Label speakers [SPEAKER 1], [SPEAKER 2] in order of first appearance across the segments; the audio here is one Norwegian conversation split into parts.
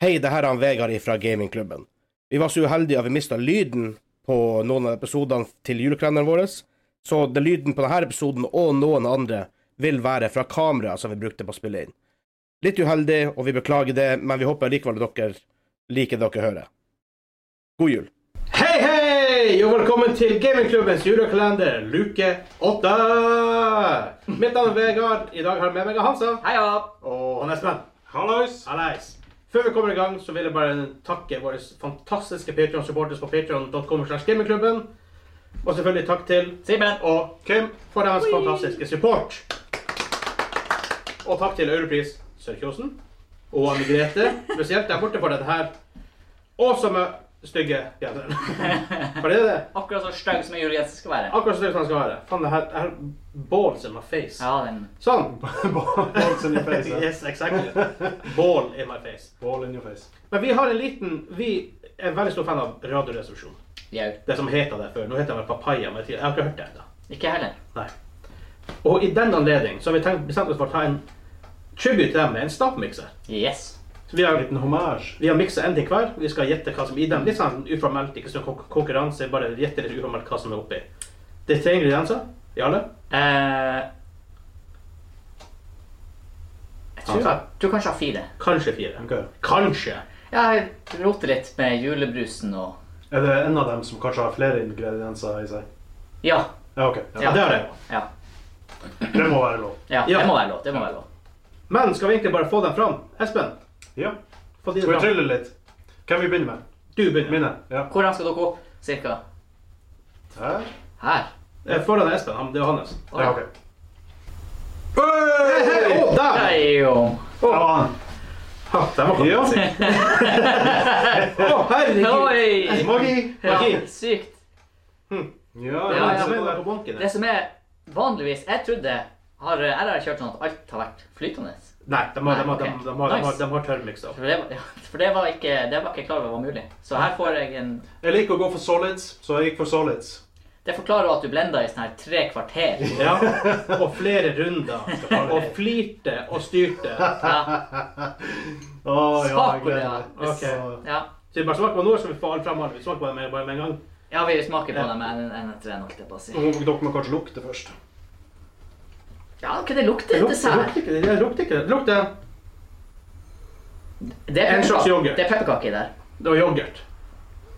[SPEAKER 1] Hei, det her er han Vegard fra gamingklubben. Vi var så uheldige at vi mista lyden på noen av episodene til julekalenderen vår, så det lyden på denne episoden og noen andre vil være fra kameraet som vi brukte på å spille inn. Litt uheldig, og vi beklager det, men vi håper likevel at dere liker det dere hører. God jul.
[SPEAKER 2] Hei, hei! Og velkommen til gamingklubbens julekalender, luke åtte! Mitt navn er Vegard. I dag har jeg med meg Hansa.
[SPEAKER 3] Heia!
[SPEAKER 2] Og han Espen.
[SPEAKER 4] Hallois!
[SPEAKER 2] Hallais. Før vi kommer i gang, så vil jeg bare takke våre fantastiske Patreon-supporters på patreon.com. gamingklubben. Og selvfølgelig takk til
[SPEAKER 3] Simen!
[SPEAKER 2] og Kim for hans fantastiske support. Og takk til Europris Sørkjosen og Anne Grete, spesielt der borte for dette her awesome stygge genseren. For det er det.
[SPEAKER 3] Akkurat så stygg som en julegest skal være.
[SPEAKER 2] Akkurat sånn som han skal være. Faen, det her, det her balls in my face.
[SPEAKER 3] Ja, den
[SPEAKER 2] Sånn.
[SPEAKER 4] Balls in your face. eh?
[SPEAKER 2] Yes, exactly. Ball in my face.
[SPEAKER 4] Ball in your face.
[SPEAKER 2] Men vi har en liten Vi er veldig stor fan av Radioresepsjon.
[SPEAKER 3] jau.
[SPEAKER 2] Det som heter det før. Nå heter det vel Papaya. Men jeg har ikke hørt det ennå.
[SPEAKER 3] Ikke heller.
[SPEAKER 2] Nei. Og i den anledning så har vi tenkt, bestemt oss for å ta en tribute til dem med en stampmikser.
[SPEAKER 3] Yes.
[SPEAKER 2] Så vi har,
[SPEAKER 4] Liten hommage.
[SPEAKER 2] vi har miksa en ting hver. Vi skal gjette hva som er i dem. Litt sånn uformelt, ikke sånn konk- konkurranse, bare gjette litt uformelt hva som er oppi. Det er tre ingredienser i alle.
[SPEAKER 3] Eh, jeg tror,
[SPEAKER 2] Ja.
[SPEAKER 3] tror kanskje jeg har fire.
[SPEAKER 2] Kanskje fire.
[SPEAKER 4] Ok.
[SPEAKER 2] Kanskje.
[SPEAKER 3] Jeg roter litt med julebrusen og
[SPEAKER 4] Er det en av dem som kanskje har flere ingredienser i seg?
[SPEAKER 3] Ja.
[SPEAKER 4] Ja, ok.
[SPEAKER 2] Ja,
[SPEAKER 4] Ja.
[SPEAKER 2] det har jeg.
[SPEAKER 3] Ja.
[SPEAKER 4] Det må være lov.
[SPEAKER 3] ja.
[SPEAKER 2] Ja.
[SPEAKER 3] Det må være lov. Det må være lov.
[SPEAKER 2] Men skal vi egentlig bare få dem fram? Espen,
[SPEAKER 4] Ja.
[SPEAKER 2] få de
[SPEAKER 4] Skal
[SPEAKER 2] fram.
[SPEAKER 4] vi trylle litt? Hvem vi begynner med?
[SPEAKER 2] Du begynner.
[SPEAKER 4] Mine? Ja.
[SPEAKER 3] Hvordan skal dere opp? Cirka
[SPEAKER 4] Her?
[SPEAKER 3] her?
[SPEAKER 2] Eh, Foran Espen. Han, det er hans.
[SPEAKER 4] Ja, ok.
[SPEAKER 2] Hey! Oh, der!
[SPEAKER 3] Nei, jo.
[SPEAKER 4] Ja, han.
[SPEAKER 2] Ha, den var
[SPEAKER 4] Ja.
[SPEAKER 2] fantastisk. Å, herregud.
[SPEAKER 3] Oi!
[SPEAKER 4] Magi!
[SPEAKER 3] Ja,
[SPEAKER 2] Magi.
[SPEAKER 3] sykt.
[SPEAKER 4] Ja,
[SPEAKER 3] Ja,
[SPEAKER 2] Den
[SPEAKER 3] ja.
[SPEAKER 2] som er der
[SPEAKER 4] ja.
[SPEAKER 2] på banken
[SPEAKER 3] Det
[SPEAKER 2] der.
[SPEAKER 3] som er vanligvis Jeg trodde har RR kjørt sånn at alt har vært flytende.
[SPEAKER 2] Nei, de har, de har, de
[SPEAKER 3] Nei,
[SPEAKER 2] har,
[SPEAKER 3] ok.
[SPEAKER 2] de har, de har,
[SPEAKER 3] Nice.
[SPEAKER 2] de har tørrmiksa.
[SPEAKER 3] For det, var- ja, for det var ikke det var ikke jeg klar over var mulig. Så her får jeg en
[SPEAKER 4] Jeg liker å gå for solids, så jeg gikk for solids.
[SPEAKER 3] Det forklarer at du blenda i sånn her tre kvarter.
[SPEAKER 2] Ja, og flere runder. Og flirte og styrte.
[SPEAKER 3] Ja,
[SPEAKER 4] Å, ja, jeg
[SPEAKER 3] Saker, ja.
[SPEAKER 4] gleder meg.
[SPEAKER 2] Ok.
[SPEAKER 3] ja.
[SPEAKER 2] Så vi bare smaker på noe, så vi får alt fram. Vi smaker på det med, bare med en gang.
[SPEAKER 3] ja vi smaker på dem en, en etter en, holdt jeg på å si.
[SPEAKER 4] Nå må Dere må kanskje lukte først.
[SPEAKER 3] Ja, hva det lukter dessert?
[SPEAKER 2] ikke det. Det lukter ikke det. Lukter
[SPEAKER 3] Det er
[SPEAKER 2] En slags
[SPEAKER 3] pepperkake-
[SPEAKER 2] yoghurt.
[SPEAKER 3] Det er pepperkake i der.
[SPEAKER 2] Det var yoghurt.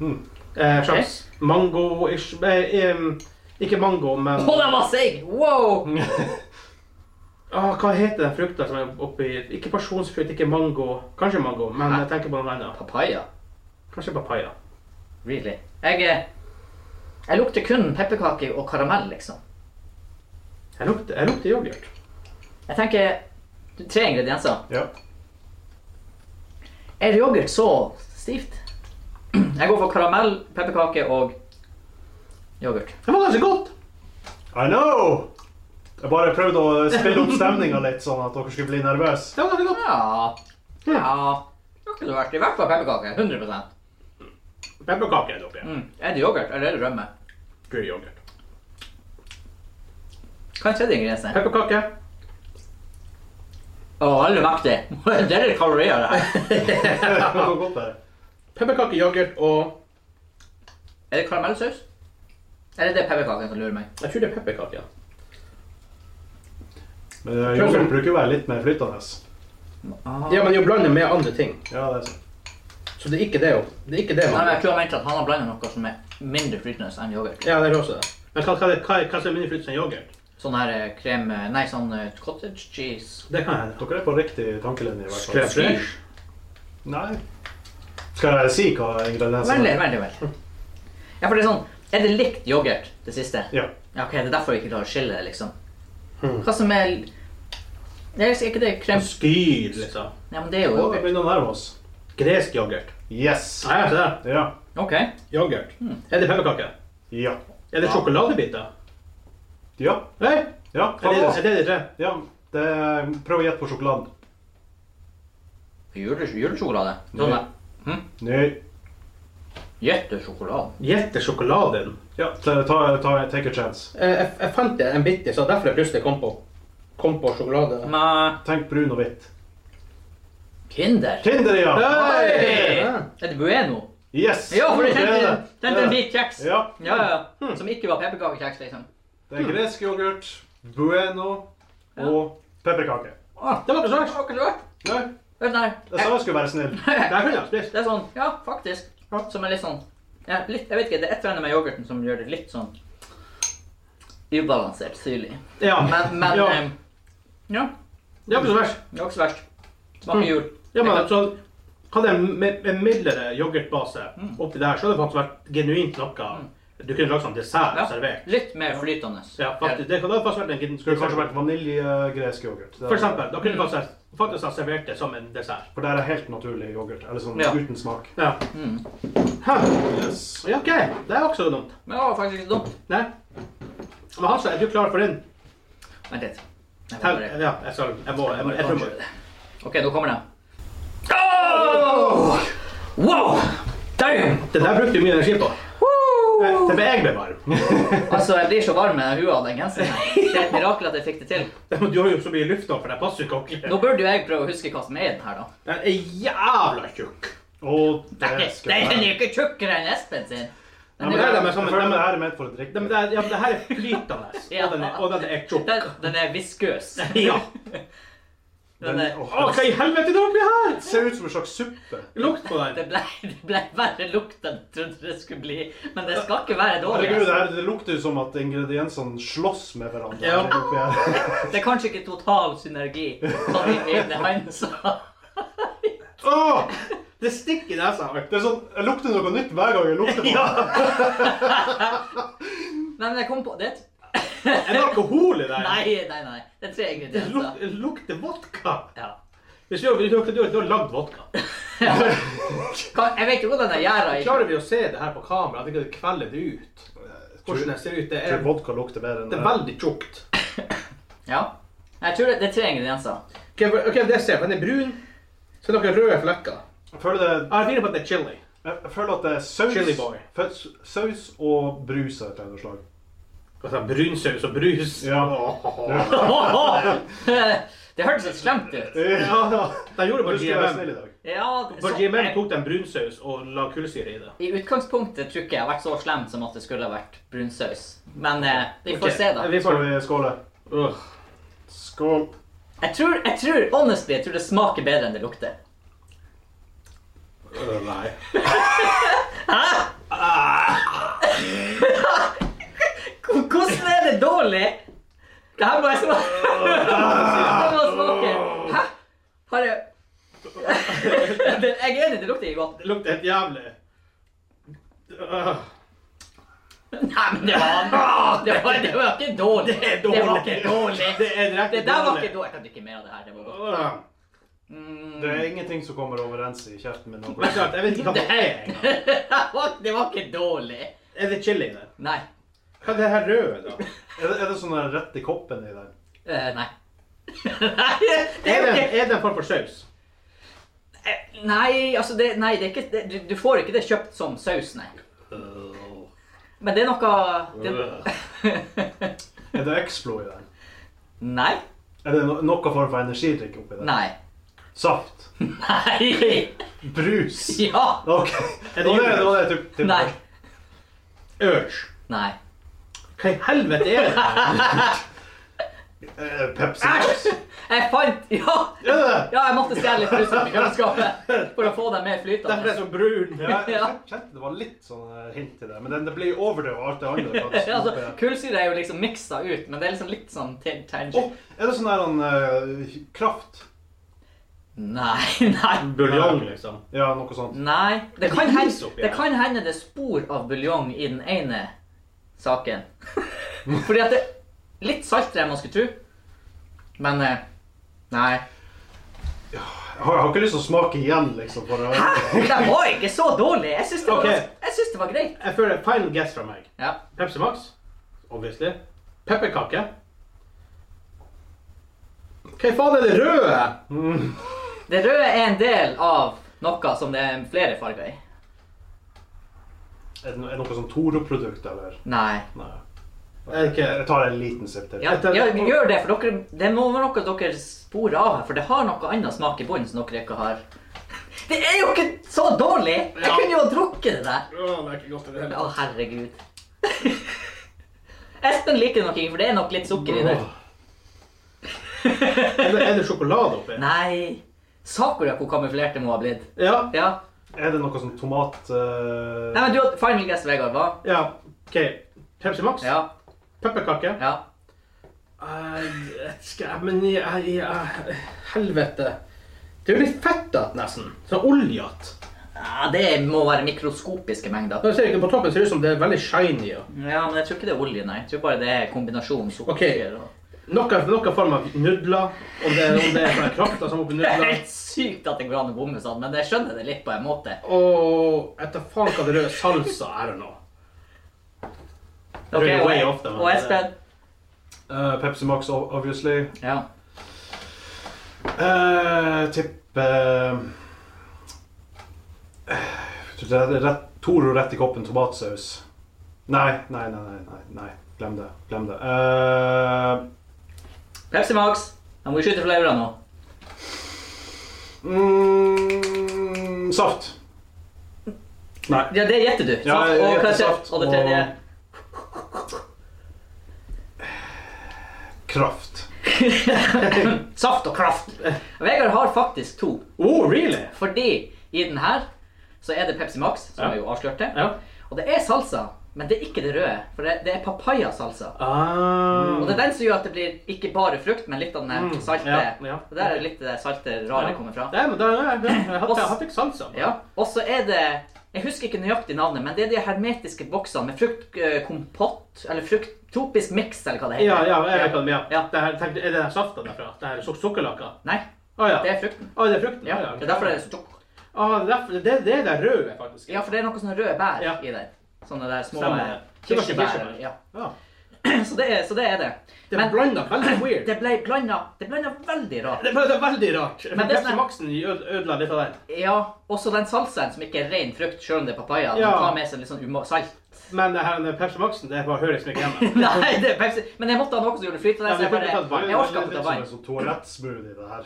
[SPEAKER 4] Mm.
[SPEAKER 2] Eh, slags mango-ish eh, em, Ikke mango, men
[SPEAKER 3] Å, den var seig! Wow!
[SPEAKER 2] ah, Hva heter den frukta som er oppi Ikke pasjonsfrukt, ikke mango. Kanskje mango, men
[SPEAKER 3] Hæ?
[SPEAKER 2] jeg tenker på noe annet.
[SPEAKER 3] Papaya.
[SPEAKER 2] Kanskje papaya.
[SPEAKER 3] Really. Jeg, eh, jeg lukter kun pepperkake og karamell, liksom.
[SPEAKER 2] Jeg lukter, jeg lukter yoghurt.
[SPEAKER 3] Jeg tenker tre ingredienser.
[SPEAKER 4] Ja.
[SPEAKER 3] Er yoghurt så stivt? Jeg går for karamell, pepperkake og yoghurt.
[SPEAKER 2] Det var ganske godt.
[SPEAKER 4] I know! Jeg bare prøvde å spille opp stemninga litt, sånn at dere skulle bli nervøse.
[SPEAKER 2] Det var ganske godt.
[SPEAKER 3] Ja Ja. Det kunne vært i hvert fall pepperkake. 100
[SPEAKER 2] Pepperkake er det oppi.
[SPEAKER 3] Mm. Er det yoghurt eller er det rømme?
[SPEAKER 2] Gul yoghurt.
[SPEAKER 3] Hva er tredje ingrediensen?
[SPEAKER 2] Pepperkake.
[SPEAKER 3] Å, alle mektig. Det er litt kalorier, det her.
[SPEAKER 4] Det går godt, det.
[SPEAKER 2] Pepperkake, yoghurt og
[SPEAKER 3] Er det karamellsaus? Eller er det pepperkaken som lurer meg?
[SPEAKER 2] Jeg tror det er pepperkake. Ja.
[SPEAKER 4] Men eh, yoghurt bruker jo være litt mer flytende.
[SPEAKER 2] ja, men jo blander med andre ting.
[SPEAKER 4] Ja, det er sånn.
[SPEAKER 2] Så det er ikke det. jo. Det er ikke det
[SPEAKER 3] Nei, men jeg
[SPEAKER 2] man
[SPEAKER 3] tror han mente at han har blandet noe som er mindre flytende enn yoghurt.
[SPEAKER 2] Ja, det er også det. Men hva, hva, hva, hva som er mindre flytende enn yoghurt?
[SPEAKER 3] Sånn her eh, krem eh, Nei, sånn eh, cottage cheese.
[SPEAKER 2] Det kan hende.
[SPEAKER 4] Dere er på riktig tankelinje, i hvert fall.
[SPEAKER 2] Crème fraîche.
[SPEAKER 4] Nei. Skal jeg si hva
[SPEAKER 2] Altså-
[SPEAKER 4] ingrediensene
[SPEAKER 3] Veldig, veldig vel. Ja, for det er sånn Er det likt yoghurt, det siste?
[SPEAKER 4] Ja.
[SPEAKER 3] Ja, ok, Det er derfor jeg ikke klarer å skille det, liksom.
[SPEAKER 2] Hmm.
[SPEAKER 3] Hva som er Det er ikke det krem...
[SPEAKER 2] Skyr, liksom.
[SPEAKER 3] Ja, men det er jo
[SPEAKER 4] Å, vi
[SPEAKER 3] yoghurt.
[SPEAKER 4] begynner å nærme oss.
[SPEAKER 2] Gresk yoghurt.
[SPEAKER 4] Yes.
[SPEAKER 2] Nei, se der.
[SPEAKER 4] Ja.
[SPEAKER 3] OK.
[SPEAKER 2] Yoghurt. Er det pepperkake?
[SPEAKER 4] Ja.
[SPEAKER 2] Er det sjokoladebiter?
[SPEAKER 4] Ja.
[SPEAKER 2] Nei?
[SPEAKER 4] Ja.
[SPEAKER 2] Er det,
[SPEAKER 4] Hva
[SPEAKER 2] er det de tre?
[SPEAKER 4] ja. Det, prøv å gjette på sjokoladen.
[SPEAKER 3] Jule- Julesjokolade. Sånn
[SPEAKER 4] Nei.
[SPEAKER 3] der.
[SPEAKER 4] Nei.
[SPEAKER 3] Jettesjokolade.
[SPEAKER 2] Gjett sjokoladen.
[SPEAKER 4] Ja, ta, ta, ta, take a chance.
[SPEAKER 2] Eh, Jeg, jeg fant det en bitte, så derfor jeg plutselig kom på, kom på sjokolade.
[SPEAKER 3] Nei,
[SPEAKER 4] Tenk brun og hvitt.
[SPEAKER 3] Tinder.
[SPEAKER 4] Tinder, ja!
[SPEAKER 2] Hei!
[SPEAKER 3] Hei! Et bueno.
[SPEAKER 4] Yes!
[SPEAKER 3] Ja, for det
[SPEAKER 4] Det er det.
[SPEAKER 3] kjente, kjente en
[SPEAKER 4] Det er det.
[SPEAKER 3] hvit kjeks.
[SPEAKER 4] Ja.
[SPEAKER 3] Ja, ja. Som ikke var pepperkakekjeks, liksom.
[SPEAKER 4] Det er gresk yoghurt, bueno og pepperkake.
[SPEAKER 2] Det var ikke
[SPEAKER 3] Det
[SPEAKER 2] sånn.
[SPEAKER 3] var ikke så rart.
[SPEAKER 4] Nei,
[SPEAKER 3] Hør
[SPEAKER 4] jeg sa jeg skulle være snill.
[SPEAKER 2] Det her kunne jeg spist.
[SPEAKER 3] Det er sånn, ja, faktisk. Som er litt sånn ja, litt, Jeg vet ikke, det er et eller annet med yoghurten som gjør det litt sånn ubalansert syrlig.
[SPEAKER 2] Ja.
[SPEAKER 3] Men, men
[SPEAKER 2] Ja.
[SPEAKER 3] ja. ja,
[SPEAKER 2] Det var ikke så verst.
[SPEAKER 3] det var ikke så verst. Smaker jul.
[SPEAKER 2] Ja, men altså, hadde jeg en mi- en mildere yoghurtbase
[SPEAKER 3] Mm.
[SPEAKER 2] oppi der, så hadde det faktisk vært genuint noe du kunne lagd som dessert
[SPEAKER 3] Ja.
[SPEAKER 2] og servert.
[SPEAKER 3] Litt mer flytende.
[SPEAKER 2] Ja, faktisk. Det hadde faktisk vært en gedigen-
[SPEAKER 4] Det skulle kanskje vært vaniljegresk yoghurt. Det er-
[SPEAKER 2] For eksempel. Da kunne
[SPEAKER 3] Mm.
[SPEAKER 2] du faktisk, faktisk ha servert det som en dessert.
[SPEAKER 4] For det er helt naturlig yoghurt. Eller sånn
[SPEAKER 3] Ja.
[SPEAKER 4] uten smak.
[SPEAKER 2] Ja.
[SPEAKER 3] Mm.
[SPEAKER 2] Hæ.
[SPEAKER 4] Yes.
[SPEAKER 2] ja, OK. Det er også dumt.
[SPEAKER 3] Men det var faktisk ikke dumt.
[SPEAKER 2] Nei. Men Hansa, er du klar for din?
[SPEAKER 3] Vent litt. Jeg må
[SPEAKER 2] Tell,
[SPEAKER 3] bare-
[SPEAKER 2] ja, jeg skal Jeg må Jeg, må, jeg, tror jeg, må-
[SPEAKER 3] OK, nå kommer den. Oh! Wow! Damn!
[SPEAKER 2] Det der brukte du mye energi på.
[SPEAKER 3] Woo!
[SPEAKER 2] Det ble jeg ble varm.
[SPEAKER 3] Altså, jeg blir så varm med hua av den genseren. her. Det er et mirakel at jeg fikk det til.
[SPEAKER 2] Du har jo så mye luft nå, for det passer jo ikke ordentlig.
[SPEAKER 3] Nå burde jo jeg prøve å huske hva som er i den her, da.
[SPEAKER 2] Den er jævla tjukk.
[SPEAKER 4] Og
[SPEAKER 3] Nei,
[SPEAKER 4] det skal
[SPEAKER 3] nei, den er
[SPEAKER 4] være.
[SPEAKER 3] jo ikke tjukkere enn Espen sin.
[SPEAKER 4] Ja,
[SPEAKER 3] Den
[SPEAKER 4] men
[SPEAKER 3] er,
[SPEAKER 4] det
[SPEAKER 2] de
[SPEAKER 4] er
[SPEAKER 2] er
[SPEAKER 4] det
[SPEAKER 2] sammen-
[SPEAKER 4] føler det her er ment for å drikke.
[SPEAKER 2] Den, den, ja, det her er flytende, og den er, og den er tjukk.
[SPEAKER 3] den, den er viskuøs.
[SPEAKER 2] Ja.
[SPEAKER 3] Den er,
[SPEAKER 4] åh,
[SPEAKER 2] Å, hva i helvete det blir her?
[SPEAKER 4] det ser ut som en slags suppe.
[SPEAKER 2] Lukt på den.
[SPEAKER 3] det, ble, det ble verre lukt enn jeg trodde det skulle bli. Men det skal ikke være dårlig.
[SPEAKER 4] Herregud,
[SPEAKER 3] altså.
[SPEAKER 4] det, her, det lukter jo som at ingrediensene slåss med hverandre.
[SPEAKER 2] Ja.
[SPEAKER 4] her oppi her.
[SPEAKER 3] Det er kanskje ikke total synergi, sånn som min egne hand sa.
[SPEAKER 2] Åh, det stikker i nesa.
[SPEAKER 4] Det er sånn, Jeg lukter noe nytt hver gang jeg lukter på det.
[SPEAKER 3] Nei, men jeg kom på det. er et-
[SPEAKER 2] Er det alkohol i den?
[SPEAKER 3] Nei, nei, nei. Det er tre
[SPEAKER 2] Det luk-
[SPEAKER 3] ingredienser.
[SPEAKER 2] det lukter vodka.
[SPEAKER 3] Ja.
[SPEAKER 2] Hvis du, hvis du, du, du har lagd vodka.
[SPEAKER 3] Hva- Jeg vet jo hvordan jeg gjør det.
[SPEAKER 2] Klarer vi å se det her på kamera? At ikke det kvelder det ut? Hvordan det ser ut? Det
[SPEAKER 4] Jeg tror
[SPEAKER 2] er,
[SPEAKER 4] vodka lukter bedre enn
[SPEAKER 2] det er veldig tjukt.
[SPEAKER 3] Ja. Jeg tror det, det er tre ingredienser.
[SPEAKER 2] Ok, for- ok, det ser jeg. Den er brun. Så er det noen røde flekker.
[SPEAKER 4] Jeg føler, det,
[SPEAKER 2] Jeg har fire på at det er chili.
[SPEAKER 4] jeg føler at det er saus,
[SPEAKER 2] Chili boy.
[SPEAKER 4] fø- saus og brus av et eller annet slag.
[SPEAKER 2] Altså, brunsaus og brus.
[SPEAKER 4] Ja.
[SPEAKER 2] Åh.
[SPEAKER 3] Det hørtes litt slemt ut.
[SPEAKER 4] Ja.
[SPEAKER 2] De gjorde
[SPEAKER 4] Du
[SPEAKER 2] bare
[SPEAKER 4] skal være
[SPEAKER 2] GMM.
[SPEAKER 4] snill i dag.
[SPEAKER 3] Ja,
[SPEAKER 2] For
[SPEAKER 3] så-
[SPEAKER 2] GMM tok de brunsaus og la kullsyre i det.
[SPEAKER 3] I utgangspunktet tror ikke jeg har vært så slem som at det skulle ha vært brunsaus. Men eh, vi får se, da.
[SPEAKER 2] Vi
[SPEAKER 4] Skal
[SPEAKER 2] får...
[SPEAKER 4] vi skåle?
[SPEAKER 2] Åh.
[SPEAKER 4] Skål.
[SPEAKER 3] Jeg tror, jeg tror, honestly, jeg tror det smaker bedre enn det lukter.
[SPEAKER 2] Øh, nei.
[SPEAKER 3] H- Hvordan er det dårlig? Det her må jeg smake. Det må jeg smake. Hæ? Har jeg Det- Jeg er enig, det lukter ikke godt.
[SPEAKER 2] Det lukter helt jævlig. Øh.
[SPEAKER 3] Nei, men det var Det var, det var ikke dårlig.
[SPEAKER 2] Det er dårlig.
[SPEAKER 3] Det var ikke dårlig.
[SPEAKER 2] Det er direkte
[SPEAKER 3] Det der var
[SPEAKER 2] dårlig.
[SPEAKER 3] ikke dårlig. Jeg kan drikke mer av det her. Det var godt.
[SPEAKER 2] Åh.
[SPEAKER 3] Mm.
[SPEAKER 4] Det er ingenting som kommer overens i kjeften min.
[SPEAKER 2] Men klart, jeg vet ikke hva det er engang.
[SPEAKER 3] Det var- Det var ikke dårlig.
[SPEAKER 2] Er det chili der?
[SPEAKER 3] Nei.
[SPEAKER 2] Hva er det her røde, da?
[SPEAKER 4] Er det, er det sånn der rett i koppen i den?
[SPEAKER 3] Eh, nei. nei, det
[SPEAKER 2] Er
[SPEAKER 3] er jo
[SPEAKER 2] det,
[SPEAKER 3] ikke
[SPEAKER 2] er det en form for saus?
[SPEAKER 3] Eh, Nei, altså det, nei, det er ikke det, du, du får ikke det kjøpt som saus, nei. Men det er noe det,
[SPEAKER 4] Er det Explo i den?
[SPEAKER 3] Nei.
[SPEAKER 4] Er det no noe form for energidrikk oppi den?
[SPEAKER 3] Nei.
[SPEAKER 4] Saft?
[SPEAKER 3] Nei.
[SPEAKER 4] Brus?
[SPEAKER 3] Ja.
[SPEAKER 4] Ok.
[SPEAKER 2] Er det
[SPEAKER 4] Nå er
[SPEAKER 2] julebrus?
[SPEAKER 4] det, nå er det typ, typ
[SPEAKER 3] Nei.
[SPEAKER 2] Urge.
[SPEAKER 3] Nei.
[SPEAKER 2] Hva i helvete er det her?
[SPEAKER 4] Eh, Pepsi Max.
[SPEAKER 3] Jeg fant Ja!
[SPEAKER 4] Er det det?
[SPEAKER 3] Ja, jeg måtte stjele litt brus fra kjøleskapet for å få dem mer
[SPEAKER 2] Derfor er
[SPEAKER 3] flytende.
[SPEAKER 2] det så brun.
[SPEAKER 4] Ja, jeg
[SPEAKER 3] Ja.
[SPEAKER 4] kjente det var litt sånn eh, hint til det, men den- det blir jo overdrevet av alt det andre. faktisk,
[SPEAKER 3] Altså,
[SPEAKER 4] oppi her.
[SPEAKER 3] Kullsyre er jo liksom miksa ut, men det er liksom litt sånn tin-
[SPEAKER 4] Åh,
[SPEAKER 3] tangent.
[SPEAKER 4] er det sånn der han eh, kraft?
[SPEAKER 3] Nei, nei.
[SPEAKER 2] Buljong, liksom.
[SPEAKER 4] Ja, noe sånt.
[SPEAKER 3] Nei. Det kan,
[SPEAKER 2] det is
[SPEAKER 3] hende,
[SPEAKER 2] oppi
[SPEAKER 3] det
[SPEAKER 2] her?
[SPEAKER 3] kan hende det er spor av buljong i den ene saken. Fordi at det er litt saltere enn man skulle tro. Men eh, nei.
[SPEAKER 4] Jeg har, jeg har ikke lyst til å smake igjen, liksom. For å...
[SPEAKER 3] Det var ikke så dårlig. Jeg syns det, var-
[SPEAKER 2] Ok.
[SPEAKER 3] jeg syns det var greit.
[SPEAKER 2] Jeg føler final guess fra meg.
[SPEAKER 3] Ja.
[SPEAKER 2] Pepsi Max, obviously. Pepperkake. Hva i faen er det røde?
[SPEAKER 3] Det røde er en del av noe som det er flere farger i.
[SPEAKER 4] Er det no- er det noe sånn Toro-produkt, eller?
[SPEAKER 3] Nei.
[SPEAKER 4] Nei.
[SPEAKER 2] Er ikke
[SPEAKER 4] Jeg tar en liten sipp til.
[SPEAKER 3] Ja, ja, vi gjør det, for dere, det må være noe dere sporer av her, for det har noe annet smak i bunnen som dere ikke har. Det er jo ikke så dårlig! Jeg
[SPEAKER 2] Ja.
[SPEAKER 3] kunne jo ha drukket det der.
[SPEAKER 2] Å, det er ikke godt i det hele
[SPEAKER 3] Å, herregud. Espen liker nok ikke, for det er nok litt sukker i det.
[SPEAKER 2] tatt. Er det- Er det sjokolade oppi?
[SPEAKER 3] Nei. Sakura hvor kamuflert det må ha blitt.
[SPEAKER 2] Ja.
[SPEAKER 3] Ja.
[SPEAKER 4] Er det noe sånn tomat... eh,
[SPEAKER 3] Nei, men du hadde final guess, Vegard, hva?
[SPEAKER 2] ja. OK. Pepsi Max?
[SPEAKER 3] Ja.
[SPEAKER 2] Pepperkake?
[SPEAKER 3] Ja.
[SPEAKER 2] Eh, jeg skal- Men jeg, jeg, jeg Helvete. Det er jo litt fettete, nesten. Sånn oljete.
[SPEAKER 3] ja det må være mikroskopiske mengder.
[SPEAKER 2] Nå ser jeg ikke på toppen, ser det ut som det er veldig shiny. Ja.
[SPEAKER 3] Ja, men jeg tror ikke det er olje, nei. Jeg tror bare det er kombinasjonen sukker
[SPEAKER 2] Ok.
[SPEAKER 3] og
[SPEAKER 2] Noe, noe form av nudler. Om det, om det er sånne krakter som er oppi
[SPEAKER 3] Det er
[SPEAKER 2] nudler.
[SPEAKER 3] helt sykt at det går an å bomme sånn, men jeg skjønner det litt på en måte.
[SPEAKER 2] Og etter faen hva det røde salsa er nå.
[SPEAKER 3] Ok,
[SPEAKER 2] You're way
[SPEAKER 3] og-
[SPEAKER 2] off them,
[SPEAKER 3] og
[SPEAKER 2] men-
[SPEAKER 3] Espen?
[SPEAKER 4] eh, Pepsi Max, o- obviously.
[SPEAKER 3] Ja.
[SPEAKER 4] Eh, Tipp eh, det er rett, Toro rett i koppen tomatsaus. Nei, nei, nei, nei, nei, nei. Glem det. Glem det. Eh,
[SPEAKER 3] Pepsi Max. Da må vi skyte flere nå.
[SPEAKER 4] mm, saft. Nei.
[SPEAKER 3] Ja, det gjetter du.
[SPEAKER 4] Ja,
[SPEAKER 3] Saft
[SPEAKER 4] jeg
[SPEAKER 3] og
[SPEAKER 4] gjetter
[SPEAKER 3] klassert.
[SPEAKER 4] saft
[SPEAKER 3] Og det
[SPEAKER 4] og-
[SPEAKER 3] tredje.
[SPEAKER 4] Kraft.
[SPEAKER 3] Saft og kraft. Vegard har faktisk to.
[SPEAKER 2] Oh, really?
[SPEAKER 3] Fordi i den her så er det Pepsi Max, som
[SPEAKER 2] Ja.
[SPEAKER 3] vi jo avslørte.
[SPEAKER 2] Ja.
[SPEAKER 3] Og det er salsa, men det er ikke det røde. For det, det er papaya-salsa.
[SPEAKER 2] Ah.
[SPEAKER 3] Og det er den som gjør at det blir ikke bare frukt, men litt av den her salte.
[SPEAKER 2] ja, ja.
[SPEAKER 3] Og der er litt det salte rare kommer fra.
[SPEAKER 2] Nei, men da, nei, nei, jeg hadde- jeg hadde ikke salsa.
[SPEAKER 3] Ja, og så er det Jeg husker ikke nøyaktig navnet, men det er de hermetiske boksene med fruktkompott, eller frukt, tropisk mix, eller hva det
[SPEAKER 2] Ja,
[SPEAKER 3] heter.
[SPEAKER 2] ja, jeg vet hva det er.
[SPEAKER 3] Ja.
[SPEAKER 2] Det her, tenkte, er det den saften derfra? Det her suk sukkerlakka?
[SPEAKER 3] Nei,
[SPEAKER 2] Å ja.
[SPEAKER 3] det er frukten.
[SPEAKER 2] Å, det er frukten?
[SPEAKER 3] Ja,
[SPEAKER 2] Å,
[SPEAKER 3] Det er derfor det er så tjukk.
[SPEAKER 2] Ah, det, er derfor, det, det er det røde, faktisk.
[SPEAKER 3] Ja, for det er noen sånne røde bær
[SPEAKER 2] Ja.
[SPEAKER 3] i den. Sånne der små
[SPEAKER 2] Stemmer.
[SPEAKER 3] eh,
[SPEAKER 2] Det var ikke
[SPEAKER 3] kirsebær.
[SPEAKER 2] kirsebær.
[SPEAKER 3] Ja.
[SPEAKER 2] Ja.
[SPEAKER 3] Så, det er, så det er det.
[SPEAKER 2] Det er
[SPEAKER 3] Men
[SPEAKER 2] blanda veldig weird.
[SPEAKER 3] det ble blanda Det blanda veldig rart.
[SPEAKER 2] Det er bare veldig rart.
[SPEAKER 3] Men det er
[SPEAKER 2] Pepsi
[SPEAKER 3] sånn-
[SPEAKER 2] Maxen øde- ødela litt av den.
[SPEAKER 3] Ja, også den salsaen som ikke er ren frukt, sjøl om det er papaya. Den
[SPEAKER 2] Ja.
[SPEAKER 3] tar med seg litt sånn uma salt.
[SPEAKER 2] Men det her med Pepsi Maxen, det bare høres ikke hjemme.
[SPEAKER 3] Nei, det er Pepsi. Men jeg måtte ha noe som gjorde det flytende,
[SPEAKER 2] Ja,
[SPEAKER 3] så
[SPEAKER 2] vi
[SPEAKER 3] jeg
[SPEAKER 2] kunne tatt vann.
[SPEAKER 3] bare Jeg orka ikke
[SPEAKER 4] Det
[SPEAKER 3] ta
[SPEAKER 4] er
[SPEAKER 3] vann.
[SPEAKER 4] litt som en sånn toalettsmoothie, det her.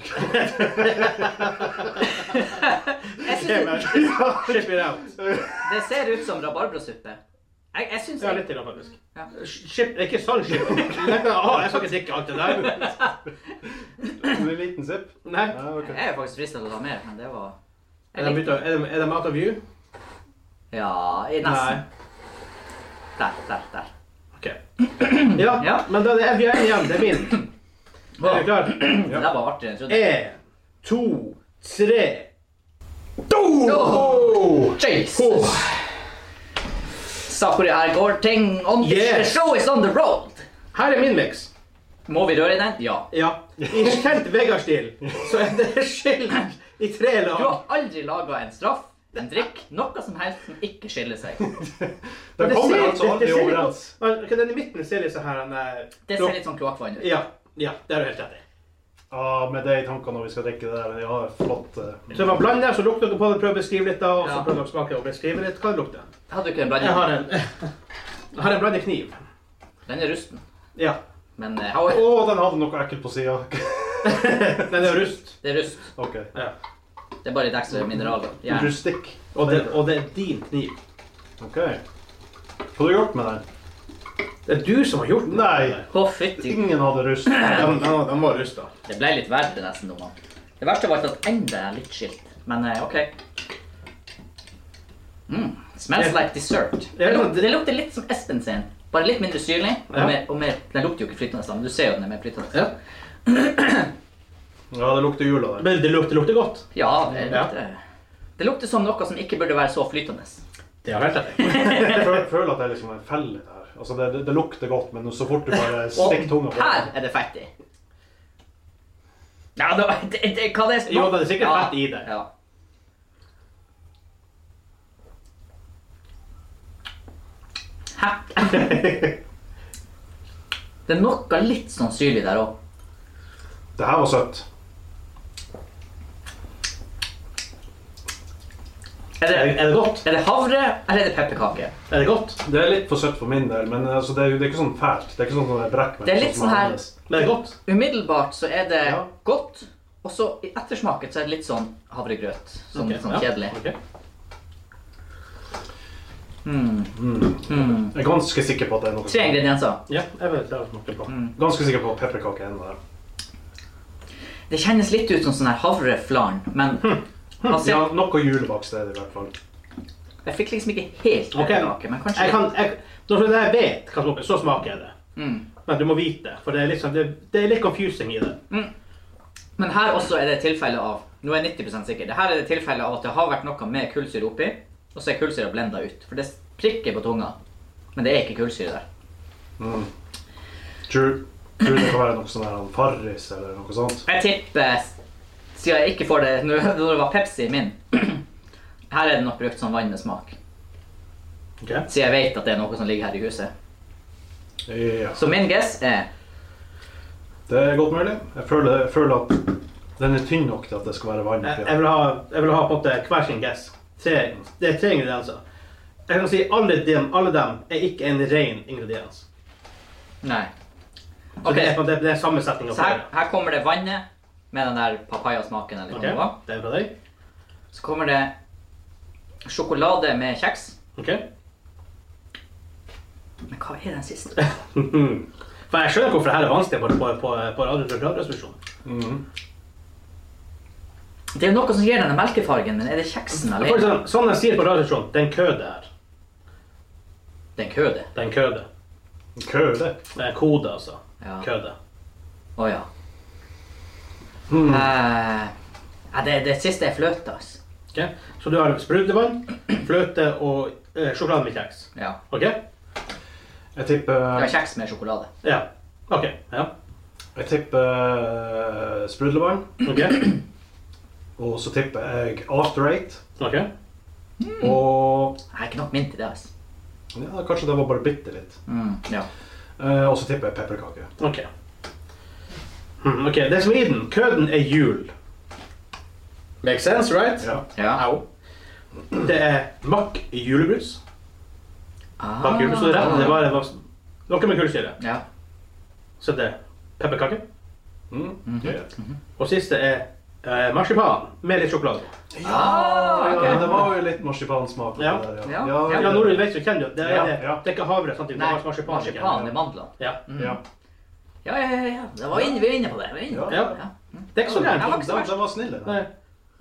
[SPEAKER 3] Jeg synes det-
[SPEAKER 2] Ship it out.
[SPEAKER 3] Det ser ut som rabarbrasuppe. Jeg, jeg syns
[SPEAKER 2] Ja,
[SPEAKER 3] jeg,
[SPEAKER 2] litt til, da, faktisk.
[SPEAKER 3] Ja.
[SPEAKER 2] Ship, ikke sånn ship. Ah, jeg skal ikke drikke alt det der.
[SPEAKER 4] En liten sipp?
[SPEAKER 2] Nei.
[SPEAKER 4] Ja, ok.
[SPEAKER 3] jeg er faktisk frista til å ta mer, men det var
[SPEAKER 2] Er det,
[SPEAKER 3] jeg likte-
[SPEAKER 2] bytta- er det, er det Mount of You?
[SPEAKER 3] Ja, i nesten. Der, der, der.
[SPEAKER 2] OK. Ja,
[SPEAKER 3] Ja.
[SPEAKER 2] men da er vi enige igjen. Det er min. Er Eh, vi
[SPEAKER 3] Wow,
[SPEAKER 2] klar?
[SPEAKER 3] det der var artigere enn jeg trodde.
[SPEAKER 2] En, to, tre.
[SPEAKER 3] Oh! Jesus! Sa hvor det her går ting on
[SPEAKER 2] Yes.
[SPEAKER 3] The show is on the road!
[SPEAKER 2] Her er min miks.
[SPEAKER 3] Må vi røre i den? Ja.
[SPEAKER 2] Ja. I kjent Vegard-stil så er det skilt i tre
[SPEAKER 3] Du
[SPEAKER 2] lag.
[SPEAKER 3] har aldri laga en straff, en drikk, noe som helst som ikke skiller seg.
[SPEAKER 4] Det
[SPEAKER 2] Men
[SPEAKER 4] kommer
[SPEAKER 2] ser-
[SPEAKER 4] altså
[SPEAKER 2] det- det ser
[SPEAKER 4] aldri
[SPEAKER 2] litt
[SPEAKER 4] overens.
[SPEAKER 2] godt- Men, ok, Den i midten ser litt sånn her den er-
[SPEAKER 3] Det ser litt sånn kloakkvann ut.
[SPEAKER 2] Ja. Ja, det har du helt rett i.
[SPEAKER 4] Ja, ah, med det i tankene når vi skal drikke det der. men Ja, flott. eh.
[SPEAKER 2] Så man blander, så lukter dere på det, prøver å beskrive litt, da, og så
[SPEAKER 3] Ja.
[SPEAKER 2] prøver dere å smake og beskrive litt hva det lukter.
[SPEAKER 3] Hadde du ikke en
[SPEAKER 2] Jeg har
[SPEAKER 3] blanding?
[SPEAKER 2] en, jeg har en blandekniv.
[SPEAKER 3] Den er rusten.
[SPEAKER 2] Ja.
[SPEAKER 3] Men eh,
[SPEAKER 4] Å,
[SPEAKER 3] how-
[SPEAKER 4] den hadde noe ekkelt på sida.
[SPEAKER 2] Den er rust.
[SPEAKER 3] det er rust.
[SPEAKER 4] OK.
[SPEAKER 2] Ja.
[SPEAKER 3] Det er bare litt ekstra mineraler. Ja.
[SPEAKER 4] Rustikk.
[SPEAKER 2] Og, det, og det er din kniv.
[SPEAKER 4] OK. Hva har du gjort med den?
[SPEAKER 2] Det er du som har gjort den.
[SPEAKER 4] Nei.
[SPEAKER 3] Å, fytti.
[SPEAKER 4] Ingen hadde rust.
[SPEAKER 2] Den, den, den var rusta.
[SPEAKER 3] Det ble litt verre nesten nå. mann. Det verste var ikke at enda er litt skilt. Men eh, OK. Mm, smells like dessert. Det lukter, det lukter litt som Espen sin. Bare litt mindre syrlig. Og
[SPEAKER 2] Ja.
[SPEAKER 3] mer, og mer, den lukter jo ikke flytende, da, men du ser jo den er mer flytende.
[SPEAKER 2] Ja.
[SPEAKER 4] Ja, det lukter jul av den.
[SPEAKER 2] Men det lukter, lukter godt.
[SPEAKER 3] Ja, det lukter, det lukter som noe som ikke burde være så flytende.
[SPEAKER 2] Det har jeg helt rett i.
[SPEAKER 4] Jeg føler, føler at det er liksom en felle der. Altså, det, det, det lukter godt, men så fort du bare stikker tunga
[SPEAKER 3] Og
[SPEAKER 4] på
[SPEAKER 3] her er det fett i. Ja, det, det, det, hva det smak-
[SPEAKER 2] Jo, det er sikkert fett i det.
[SPEAKER 3] Ja. Hæ? Det er noe litt sånn syrlig der òg.
[SPEAKER 4] Det her var søtt.
[SPEAKER 3] Er
[SPEAKER 4] Er,
[SPEAKER 3] det,
[SPEAKER 4] er det godt?
[SPEAKER 3] er det havre, eller er det pepperkake?
[SPEAKER 2] Er det godt?
[SPEAKER 4] Det er litt for søtt for min del, men altså, det, er, jo- det er ikke sånn fælt. Det er ikke sånn at jeg brekker meg.
[SPEAKER 3] Det er litt
[SPEAKER 4] som
[SPEAKER 3] sånn her-
[SPEAKER 4] Johannes.
[SPEAKER 2] Men er det godt?
[SPEAKER 3] Umiddelbart så er det
[SPEAKER 4] Ja.
[SPEAKER 3] godt, og så i ettersmaket så er det litt sånn havregrøt. Sånn,
[SPEAKER 2] Ok,
[SPEAKER 3] sånn
[SPEAKER 2] ja.
[SPEAKER 3] kjedelig.
[SPEAKER 2] Ok.
[SPEAKER 3] Mm.
[SPEAKER 4] Jeg er ganske sikker på at det er noe
[SPEAKER 3] Tre
[SPEAKER 4] sånn.
[SPEAKER 3] ingredienser.
[SPEAKER 2] Ja, jeg vet hva jeg smaker på.
[SPEAKER 3] Mm,
[SPEAKER 4] Ganske sikker på at pepperkake er en av dem.
[SPEAKER 3] Det kjennes litt ut som sånn her havreflarn, men
[SPEAKER 2] Hm.
[SPEAKER 3] altså,
[SPEAKER 4] Ja, noe julebakst er det i hvert fall.
[SPEAKER 3] jeg fikk liksom ikke helt
[SPEAKER 2] Ok.
[SPEAKER 3] pepperkake, men kanskje
[SPEAKER 2] Jeg kan, jeg, når jeg vet hva smaker, så smaker jeg det.
[SPEAKER 3] Mm.
[SPEAKER 2] Men du må vite det, for det er litt, sånn, det, det er litt confusing i det.
[SPEAKER 3] Mm. Men her også er det tilfelle av Nå er jeg 90 sikker. Det her er det tilfelle av at det har vært noe med kullsyre oppi, og så er kullsyra blenda ut. For det prikker på tunga. Men det er ikke kullsyre der.
[SPEAKER 4] Mm. True. True, det kan være noe sånn her Farris eller noe sånt.
[SPEAKER 3] Jeg tipper, siden jeg ikke får det nå når det var Pepsi min Her er det nok brukt som vann med smak.
[SPEAKER 2] Ok.
[SPEAKER 3] Siden jeg vet at det er noe som ligger her i huset.
[SPEAKER 4] Ja.
[SPEAKER 3] Så min guess er
[SPEAKER 4] Det er godt mulig. Jeg føler, jeg føler at den er tynn nok til at det skal være vann
[SPEAKER 2] Jeg,
[SPEAKER 4] oppi.
[SPEAKER 2] jeg, vil, ha, jeg vil ha på en måte hver sin guess. Tre, det er tre ingredienser. Jeg kan si alle dem, alle dem er ikke en ren ingrediens.
[SPEAKER 3] Nei.
[SPEAKER 2] Så
[SPEAKER 3] Ok,
[SPEAKER 2] det, er, på en måte- det er sammensetning av
[SPEAKER 3] Så her,
[SPEAKER 2] flere.
[SPEAKER 3] her kommer det vannet med den der papayasmaken. eller hva
[SPEAKER 2] Ok,
[SPEAKER 3] det var.
[SPEAKER 2] det er fra deg.
[SPEAKER 3] Så kommer det sjokolade med kjeks.
[SPEAKER 2] Ok.
[SPEAKER 3] Men hva er den siste?
[SPEAKER 2] For jeg skjønner hvorfor det her er vanskelig på, på, på, på radioresepsjonen.
[SPEAKER 4] Mhm.
[SPEAKER 3] Det er jo noe som gir denne melkefargen, men er det kjeksen
[SPEAKER 2] For
[SPEAKER 3] alene?
[SPEAKER 2] eksempel, Sånn jeg sier på radioresepsjonen, det er en kø det her.
[SPEAKER 3] Det er en køde.
[SPEAKER 2] Det er en kø det.
[SPEAKER 4] Køde.
[SPEAKER 2] Det er kode, altså.
[SPEAKER 3] Ja.
[SPEAKER 2] Kø det.
[SPEAKER 3] Å ja.
[SPEAKER 4] Mm.
[SPEAKER 3] Eh, ja, det, det siste er fløte, altså.
[SPEAKER 2] Ok? Så du har sprutevann, fløte og eh, sjokolade med kjeks.
[SPEAKER 3] Ja.
[SPEAKER 2] Ok?
[SPEAKER 4] Jeg tipper,
[SPEAKER 3] Det var kjeks med sjokolade.
[SPEAKER 2] Ja. Ok. Ja.
[SPEAKER 4] jeg tipper sprudlevann.
[SPEAKER 2] Ok.
[SPEAKER 4] Og så tipper jeg After Eight.
[SPEAKER 2] Ok.
[SPEAKER 4] Og
[SPEAKER 3] Jeg har ikke nok mint i det, altså.
[SPEAKER 4] ja, kanskje det var bare bitte litt.
[SPEAKER 3] Mm, ja.
[SPEAKER 4] Eh, og så tipper jeg pepperkake.
[SPEAKER 2] Ok. Hmm, ok, Det som er i den, køden er jul. Makes sense, right?
[SPEAKER 4] Ja.
[SPEAKER 3] ja.
[SPEAKER 2] Au. Det er makk i julebrus.
[SPEAKER 3] Ah.
[SPEAKER 2] Makk i julebrus, og det er rett. Det var, det var noe med kullsyre.
[SPEAKER 3] Ja.
[SPEAKER 2] Så det er pepperkake.
[SPEAKER 4] Mm. ja.
[SPEAKER 2] Og siste er eh, marsipan med litt sjokolade.
[SPEAKER 3] Ah,
[SPEAKER 4] Ja,
[SPEAKER 3] ok.
[SPEAKER 4] det var jo litt marsipansmak. på
[SPEAKER 2] Ja.
[SPEAKER 4] det der,
[SPEAKER 3] Ja.
[SPEAKER 4] Ja,
[SPEAKER 2] Ja, Norun vet så kjenner du. Det er,
[SPEAKER 4] Ja,
[SPEAKER 2] det,
[SPEAKER 4] ja.
[SPEAKER 2] det er ikke havre. Sant? Det
[SPEAKER 3] Nei,
[SPEAKER 2] er marsipan.
[SPEAKER 3] marsipan i mandlene.
[SPEAKER 2] Ja.
[SPEAKER 4] ja.
[SPEAKER 3] Ja, ja, ja. ja. Det var inne, vi var inne på det. Vi var inne på det. Mm,
[SPEAKER 2] Ja. Det er ikke så gærent.
[SPEAKER 3] Jeg var ikke så
[SPEAKER 4] Den,
[SPEAKER 3] verst.
[SPEAKER 4] den var snill. den.
[SPEAKER 2] Nei.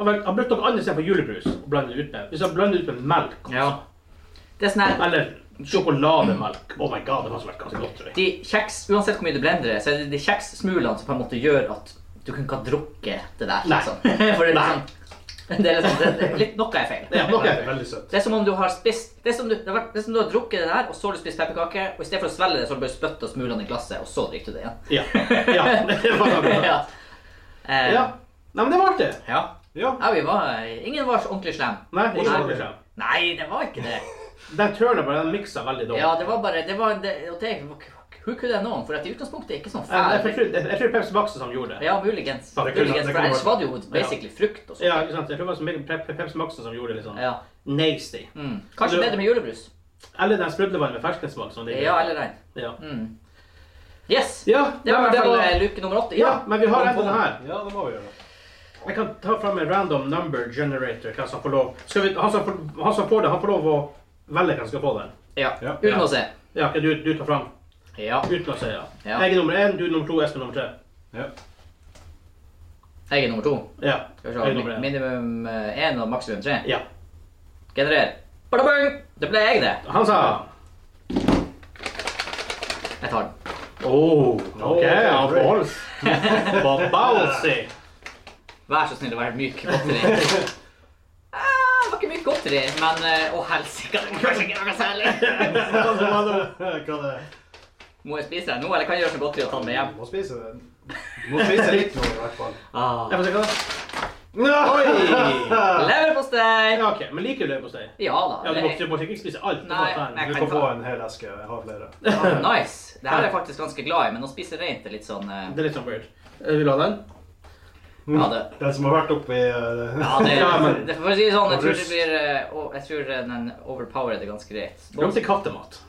[SPEAKER 2] Han har- han brukte noe annet enn for julebrus og blandet ut med. Hvis han blandet ut med melk, også.
[SPEAKER 3] Ja. Det er sånn her
[SPEAKER 2] eller sjokolademelk Oh my god, det hadde vært ganske godt. tror jeg.
[SPEAKER 3] de kjeks, Uansett hvor mye du blender det, så er det de kjekssmulene som på en måte gjør at du kan ikke ha drukket det der.
[SPEAKER 2] Nei.
[SPEAKER 3] Liksom. For det er
[SPEAKER 2] Nei.
[SPEAKER 3] liksom, det er liksom det er litt, Noe er feil.
[SPEAKER 2] Ja, noe er
[SPEAKER 4] Veldig, Veldig søt.
[SPEAKER 3] Det er som om du har spist Det er som, du, det har vært- det er som du har drukket det der, og så har du spist pepperkake, og i stedet for å svelge det, så har du bare spytta smulene i glasset, og så drikker du det igjen.
[SPEAKER 2] Ja. ja. Det var det.
[SPEAKER 3] ja. Eh,
[SPEAKER 2] ja. Nei, men det var artig.
[SPEAKER 3] ja.
[SPEAKER 4] Ja.
[SPEAKER 3] Ja, vi var Ingen var så ordentlig slem.
[SPEAKER 2] Nei, ikke
[SPEAKER 3] Nei.
[SPEAKER 2] ordentlig skjerm.
[SPEAKER 3] Nei, det var ikke det.
[SPEAKER 2] Den turnen bare, den miksa veldig dårlig.
[SPEAKER 3] Ja, det var bare det var, det, og det, Who could have known? For at i utgangspunktet er det ikke sånn
[SPEAKER 2] Jeg, jeg,
[SPEAKER 3] fæl
[SPEAKER 2] tror- jeg, jeg tror Pepsi Max som gjorde det.
[SPEAKER 3] Ja, muligens.
[SPEAKER 2] Ja, det kunne-
[SPEAKER 3] muligens
[SPEAKER 4] det
[SPEAKER 3] for
[SPEAKER 4] kunne
[SPEAKER 3] ellers
[SPEAKER 4] vært-
[SPEAKER 3] var det jo basically frukt og sånt.
[SPEAKER 2] Ja, ikke sant? Jeg tror det var så mye Pe- Pe- Pepsi Max som gjorde det litt sånn
[SPEAKER 3] Ja.
[SPEAKER 2] nasty.
[SPEAKER 3] Mm. Kanskje bedre med julebrus.
[SPEAKER 2] Eller den sprudlevannet med ferskensmak. som de-
[SPEAKER 3] Ja, eller den.
[SPEAKER 2] Ja.
[SPEAKER 3] Mm. Yes!
[SPEAKER 2] Ja,
[SPEAKER 3] Det var
[SPEAKER 2] nei,
[SPEAKER 3] i hvert
[SPEAKER 2] men
[SPEAKER 3] fall
[SPEAKER 2] det var-
[SPEAKER 3] eh, luke nummer åtte.
[SPEAKER 2] ja, men vi har en til den her.
[SPEAKER 4] Ja, det må vi gjøre.
[SPEAKER 2] Jeg kan ta fram en random number generator. Hva som får lov. Skal vi, han, som får, han som får det, han får lov å velge hvem som skal få den.
[SPEAKER 3] ja.
[SPEAKER 4] Ja.
[SPEAKER 3] Uten å se.
[SPEAKER 2] Ja, ok, du, du tar fram.
[SPEAKER 3] Ja.
[SPEAKER 2] Uten å si ja.
[SPEAKER 3] Ja.
[SPEAKER 2] Jeg er nummer én, du er nummer to, Espen nummer tre.
[SPEAKER 4] Ja.
[SPEAKER 3] Jeg er nummer to.
[SPEAKER 2] Ja.
[SPEAKER 3] Skal vi
[SPEAKER 2] Jeg
[SPEAKER 3] se.
[SPEAKER 2] er nummer
[SPEAKER 3] min-
[SPEAKER 2] én.
[SPEAKER 3] Minimum eh, én og maksimum tre.
[SPEAKER 2] Ja.
[SPEAKER 3] Generer. Badabang! Det ble jeg, det.
[SPEAKER 2] Han sa
[SPEAKER 3] Jeg tar den.
[SPEAKER 2] oh, OK,
[SPEAKER 4] Ok,
[SPEAKER 2] han
[SPEAKER 4] great.
[SPEAKER 2] får På Bowsy.
[SPEAKER 3] Vær så snill å være myk godteri. Ah, det var ikke myk godteri, men eh, Å, helsike, det var kanskje ikke noe særlig.
[SPEAKER 4] Hva det er?
[SPEAKER 3] Må jeg spise den nå, eller kan jeg gjøre som godteri og ta den med hjem?
[SPEAKER 4] Du må spise den. Du må spise litt nå, i hvert fall.
[SPEAKER 3] Ah.
[SPEAKER 2] Jeg får se hva det er. Oi!
[SPEAKER 3] Leverpostei!
[SPEAKER 2] Ja, OK. Men liker du leverpostei?
[SPEAKER 3] Ja da.
[SPEAKER 2] Ja, du må
[SPEAKER 3] det er-
[SPEAKER 2] ikke- du må ikke spise alt. Du må
[SPEAKER 3] Nei,
[SPEAKER 2] ta en.
[SPEAKER 3] men jeg
[SPEAKER 4] Du
[SPEAKER 3] kan
[SPEAKER 4] kan
[SPEAKER 3] ta
[SPEAKER 4] få en hel eske. Jeg har flere.
[SPEAKER 3] Ah, nice. Det her er jeg faktisk ganske glad i, men å spise reint er litt sånn eh,
[SPEAKER 2] Det er litt sånn weird. Eh, Vil du ha den?
[SPEAKER 3] Ja, det,
[SPEAKER 4] Den som har vært oppi eh,
[SPEAKER 3] ja, det,
[SPEAKER 2] Ja, men-
[SPEAKER 3] det For å si det sånn, jeg tror det
[SPEAKER 4] Russ.
[SPEAKER 3] blir eh, o- Jeg tror eh, den overpowered er ganske greit.
[SPEAKER 2] Kom til kattemat.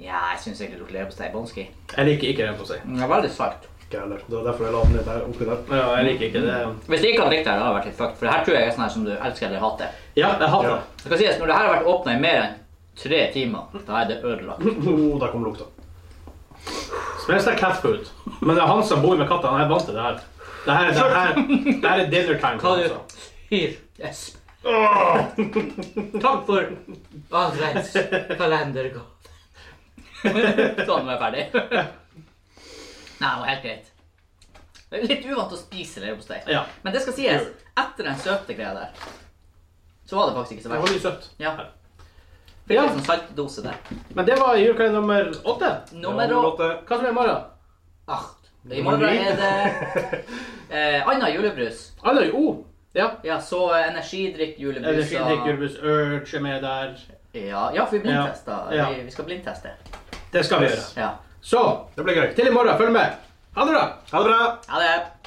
[SPEAKER 3] Ja, jeg syns egentlig leverpostei er bonski.
[SPEAKER 2] Jeg liker ikke leverpostei.
[SPEAKER 3] Den er veldig salt.
[SPEAKER 4] Ikke heller. Det var derfor jeg la den ned der, oppi der.
[SPEAKER 2] Ja, jeg liker ikke det.
[SPEAKER 3] Hvis de ikke hadde likt det, her, hadde det vært litt fucked. For det her tror jeg er sånn her som du elsker eller hater.
[SPEAKER 2] Ja, jeg hater
[SPEAKER 4] Ja.
[SPEAKER 2] det.
[SPEAKER 3] Det skal sies, Når det her har vært åpna i mer enn tre timer, da er det ødelagt.
[SPEAKER 4] Oh, der kom lukta.
[SPEAKER 2] Smells like cat food. Men det er han som bor med katta, han er vant til det her. Det her, det her, det her er dinner time.
[SPEAKER 3] Hva
[SPEAKER 2] for han,
[SPEAKER 3] du
[SPEAKER 2] altså.
[SPEAKER 3] Fyr. Yes. Takk for Valreins kalendergave. sånn, nå er jeg ferdig. Nei, det var helt greit. Det er litt uvant å spise leverpostei.
[SPEAKER 2] Ja.
[SPEAKER 3] Men det skal sies, etter den søte greia der, så var det faktisk ikke så
[SPEAKER 2] Det var
[SPEAKER 3] verst.
[SPEAKER 2] mye søtt.
[SPEAKER 3] Ja. Fikk
[SPEAKER 2] Ja.
[SPEAKER 3] en sånn saltdose der.
[SPEAKER 2] Men det var julekalender nummer åtte.
[SPEAKER 3] Nummer
[SPEAKER 4] Ja,
[SPEAKER 3] å-
[SPEAKER 4] låte.
[SPEAKER 2] Hva som er i morgen?
[SPEAKER 3] Art. I morgen er det eh, Anna julebrus.
[SPEAKER 2] Alle er jo O. Ja.
[SPEAKER 3] Ja, så eh, energidrikk julebrus.
[SPEAKER 2] Energidrikk,
[SPEAKER 3] og-
[SPEAKER 2] julebrus, urge er med der.
[SPEAKER 3] Ja, ja, for vi blindtester.
[SPEAKER 2] Ja.
[SPEAKER 3] Vi, vi skal blindteste.
[SPEAKER 2] Det skal vi gjøre.
[SPEAKER 3] Ja.
[SPEAKER 2] Så
[SPEAKER 4] Det ble gøy.
[SPEAKER 2] til i morgen. Følg med. Ha det bra.
[SPEAKER 4] Ha det bra!
[SPEAKER 3] Ha det.